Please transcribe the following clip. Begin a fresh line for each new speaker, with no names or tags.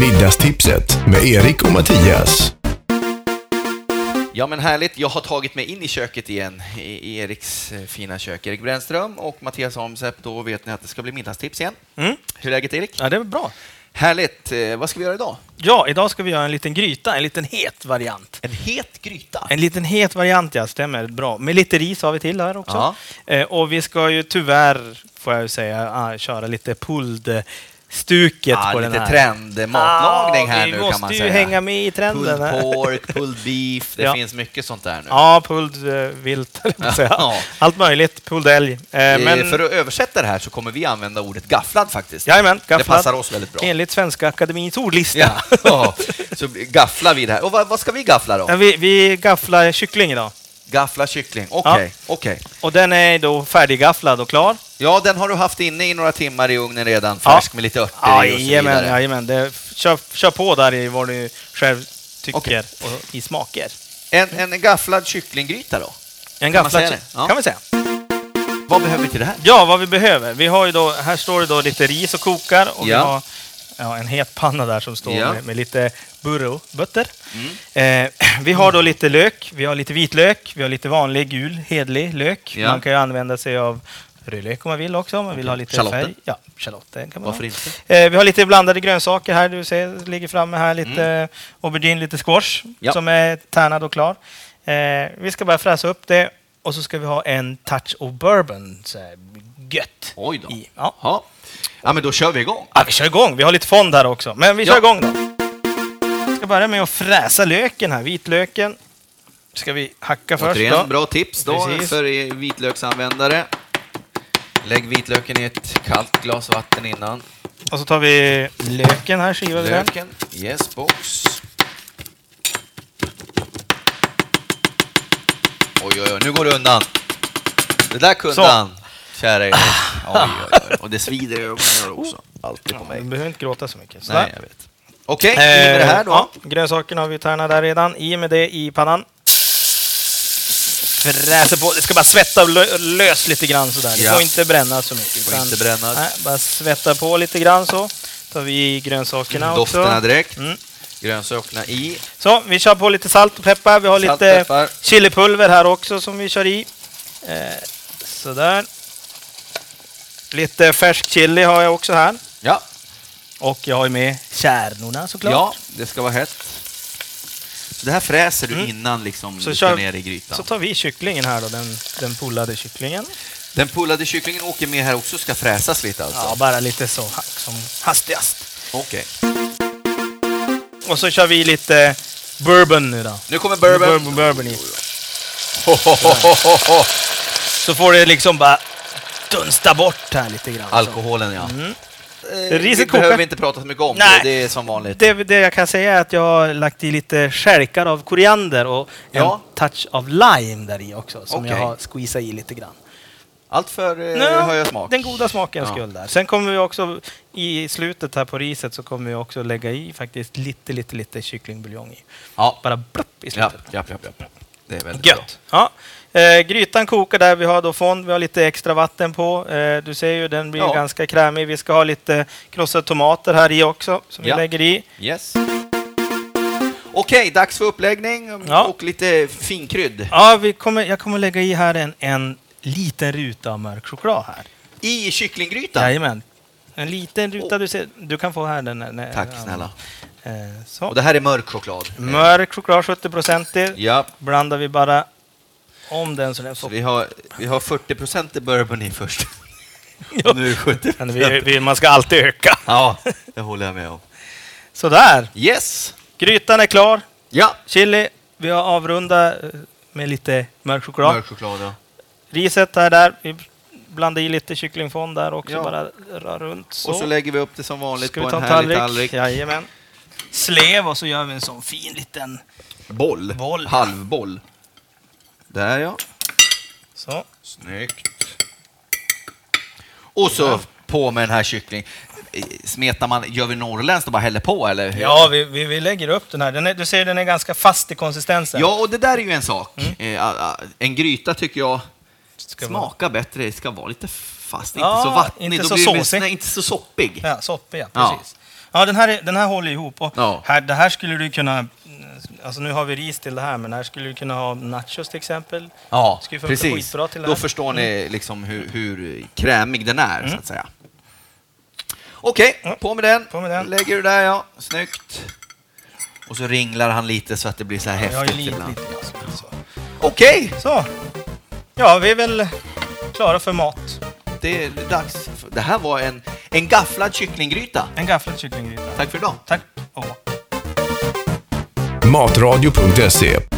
Middagstipset med Erik och Mattias.
Ja men härligt, jag har tagit mig in i köket igen, i Eriks eh, fina kök. Erik Brännström och Mattias Holmsepp, då vet ni att det ska bli middagstips igen.
Mm.
Hur är läget Erik?
Ja, det är väl bra.
Härligt, Eh, vad ska vi göra idag?
Ja, idag ska vi göra en liten gryta, en liten het variant.
En het gryta.
En liten het variant, ja, stämmer bra. Med lite ris har vi till här också.
Ja.
Eh, och vi ska ju tyvärr, får jag ju säga, ah, köra lite pulled-stuket
Ah,
på den
lite
här. Ah,
trendmatlagning här
vi
nu
måste
kan man
ju
säga.
hänga med i trenden.
Pulled
här.
pork, pulled beef, det
Ja.
finns mycket sånt där nu.
Ja, pulled eh, vilt, höll jag på att säga.
Ja.
Allt möjligt. Pulled älg. Eh,
Eh,
men,
För att översätta det här så kommer vi använda ordet gafflad faktiskt.
jajamän,
Det
gafflad.
passar oss väldigt bra.
Enligt Svenska Akademiens ordlista.
Ja, ja. så gafflar vi det här. Och vad, vad ska vi gaffla då?
Eh, Vi, vi gafflar kyckling idag.
Gaffla kyckling, okej. okej.
Och den är då färdiggafflad och klar.
Ja, den har du haft inne i några timmar i ugnen redan, färsk med lite örter i och så
Jajamän,
vidare.
jajamän. Det- Kör, kör på där i vad du själv tycker
Okej.
och i smaker.
En, en gafflad kycklinggryta då?
En
Kan man
gafflad
säga det?
kö-
Ja.
kan vi säga.
Vad behöver vi till det här?
Ja, vad vi behöver. Vi har ju då, här står det då lite ris och kokar och
Ja.
vi har ja, en het panna där som står
Ja. Mm.
med, med lite burrobötter. Eh, vi har då lite lök, vi har lite vitlök, vi har lite vanlig gul hedlig lök.
Ja.
Man kan ju använda sig av rödlök om man vill också, om man vill ha lite
Shallotten.
färg. Ja, shallotten kan man
Varför
ha.
inte?
Eh, vi har lite blandade grönsaker här. Du ser, ligger framme här lite aubergine, lite squash
Mm. Ja.
som är tärnad och klar. Eh, vi ska bara fräsa upp det och så ska vi ha en touch of bourbon. Så här, gött.
Oj då.
I. Ja.
Ja. ja, men då kör vi igång.
ja, vi kör igång. Vi har lite fond här också, men vi kör
Ja.
igång då. Vi ska börja med att fräsa löken här, vitlöken. Ska vi hacka först då?
Återigen, bra tips då
Precis.
för er vitlöksanvändare. Lägg vitlöken i ett kallt glas vatten innan.
Och så tar vi löken här, skivar vi den.
Löken, yes box. Oj, oj, oj, nu går det undan. Det där kunde
Så.
han, kära Erik. Oj, oj, oj. Och det svider i ögonen också. Alltid på
Ja,
mig.
du behöver inte gråta Oh. så mycket. Sådär.
Nej, jag vet. Okej, i med det här då.
Eh, Ja, grönsakerna har vi tärnat där redan. I med det i pannan. Fräser på. Det ska bara svetta och lö- lös lite grann sådär. Det
Ja.
får inte brännas så mycket.
Får inte brännas.
Nej, bara svetta på lite grann så. tar vi i grönsakerna också.
Dofterna direkt.
Mm.
Grönsakerna i.
Så, vi kör på lite salt och peppar. Vi har
Salt,
lite
peppar.
chilipulver här också som vi kör i. Eh, sådär. Lite färsk chili har jag också här.
Ja.
Och jag har ju med kärnorna såklart.
ja, det ska vara hett. Så det här fräser du innan liksom
Mm. Så
du
kör-
ska ner i grytan.
Så tar vi kycklingen här då, den, den pullade kycklingen.
Den pullade kycklingen åker med här också, ska fräsas lite alltså.
Ja, bara lite så ha- som hastigast.
Okej.
Och så kör vi lite bourbon nu då.
Nu kommer bourbon.
bourbon, bourbon i. Så får det liksom bara dunsta bort här lite grann. så.
Alkoholen, ja. Eh,
Riset
det behöver
kokar.
vi inte prata så mycket om.
Mm. Nej.
Det är som vanligt.
Det, det jag kan säga är att jag har lagt i lite skälkar av koriander och
Ja.
en touch av lime där i också, som jag
Okej.
har squeezat i lite grann.
Allt för eh,
Ja,
höga smak.
Den goda smakens
Ja.
skull där. Sen kommer vi också i slutet här på riset så kommer vi också lägga i faktiskt lite, lite, lite kycklingbuljong i.
Ja.
Bara blupp i
Ja,
slutet.
ja, ja, ja. Det är väldigt
Gött! Ja. Eh, grytan kokar där, vi har då fond, vi har lite extra vatten på. Eh, du ser ju, den blir
Ja.
ganska krämig. Vi ska ha lite krossade tomater här i också, som
Ja.
vi lägger i.
bra. Yes. Okej, dags för uppläggning
Ja.
och lite finkrydd.
Ja, vi kommer, jag kommer lägga i här en, en liten ruta av mörk choklad här.
I kycklinggrytan.
Jajamän. En liten ruta, du ser. Du kan få här den. när- när-
Oh. Tack
ja.
snälla.
Eh,
Och
så.
det här är mörk choklad.
Mörk choklad, 70
Ja.
Blandar vi bara om den så den
Så
får...
vi har, vi har 40 procent bourbon i först. Och nu är det 70
Men vi, vi, man ska alltid öka.
Ja, det håller jag med om.
Sådär.
Yes.
Grytan är klar.
Ja.
Chili. Vi har avrundat eh, med lite mörk choklad.
Mörk choklad, ja.
Riset är där. Vi blandar i lite kycklingfond där också.
Ja.
Bara rör runt så.
Och så lägger vi upp det som vanligt
Ska
på
vi ta
en
en
härlig
tallrik?
tallrik.
Jajamän. Slev och så gör vi en sån fin liten...
Boll.
Boll.
Halvboll. Där ja.
Så.
Snyggt. Och så på med den här kyckling. Eh, Smetar man, gör vi norrländskt och bara häller på eller? hur?
Ja, vi, vi, vi lägger upp den här. Den är, du ser den är ganska fast i konsistensen.
Ja, och det där är ju en sak. Eh, a- a- En gryta tycker jag
Mm. Ska vara-
smakar bättre, det ska vara lite fast, inte
Ja,
så vattnig,
inte
Då
så
blir det-
såsig.
nej, inte så soppig.
Ja, soppiga,
Ja.
precis. Ja. Ja, den här, är- den här håller ihop. Och
Ja.
här, det här skulle du kunna... Alltså nu har vi ris till det här, men här skulle du kunna ha nachos till exempel.
Ja,
Skulle funka
precis.
skitbra till det
Då
här. Mm.
förstår ni liksom hur, hur krämig den är, så att säga. Okej,
Ja.
på med den.
På med den.
Lägger du där, ja. Snyggt. Och så ringlar han lite så att det blir så här
Jag har ju
häftigt
lite,
ibland.
lite grann så- så.
Okej,
Så. Ja, vi är väl klara för mat.
det är dags. för- Det här var en, en gafflad kycklinggryta.
En gafflad kycklinggryta.
Tack för idag.
Tack. Åh.
Matradio.se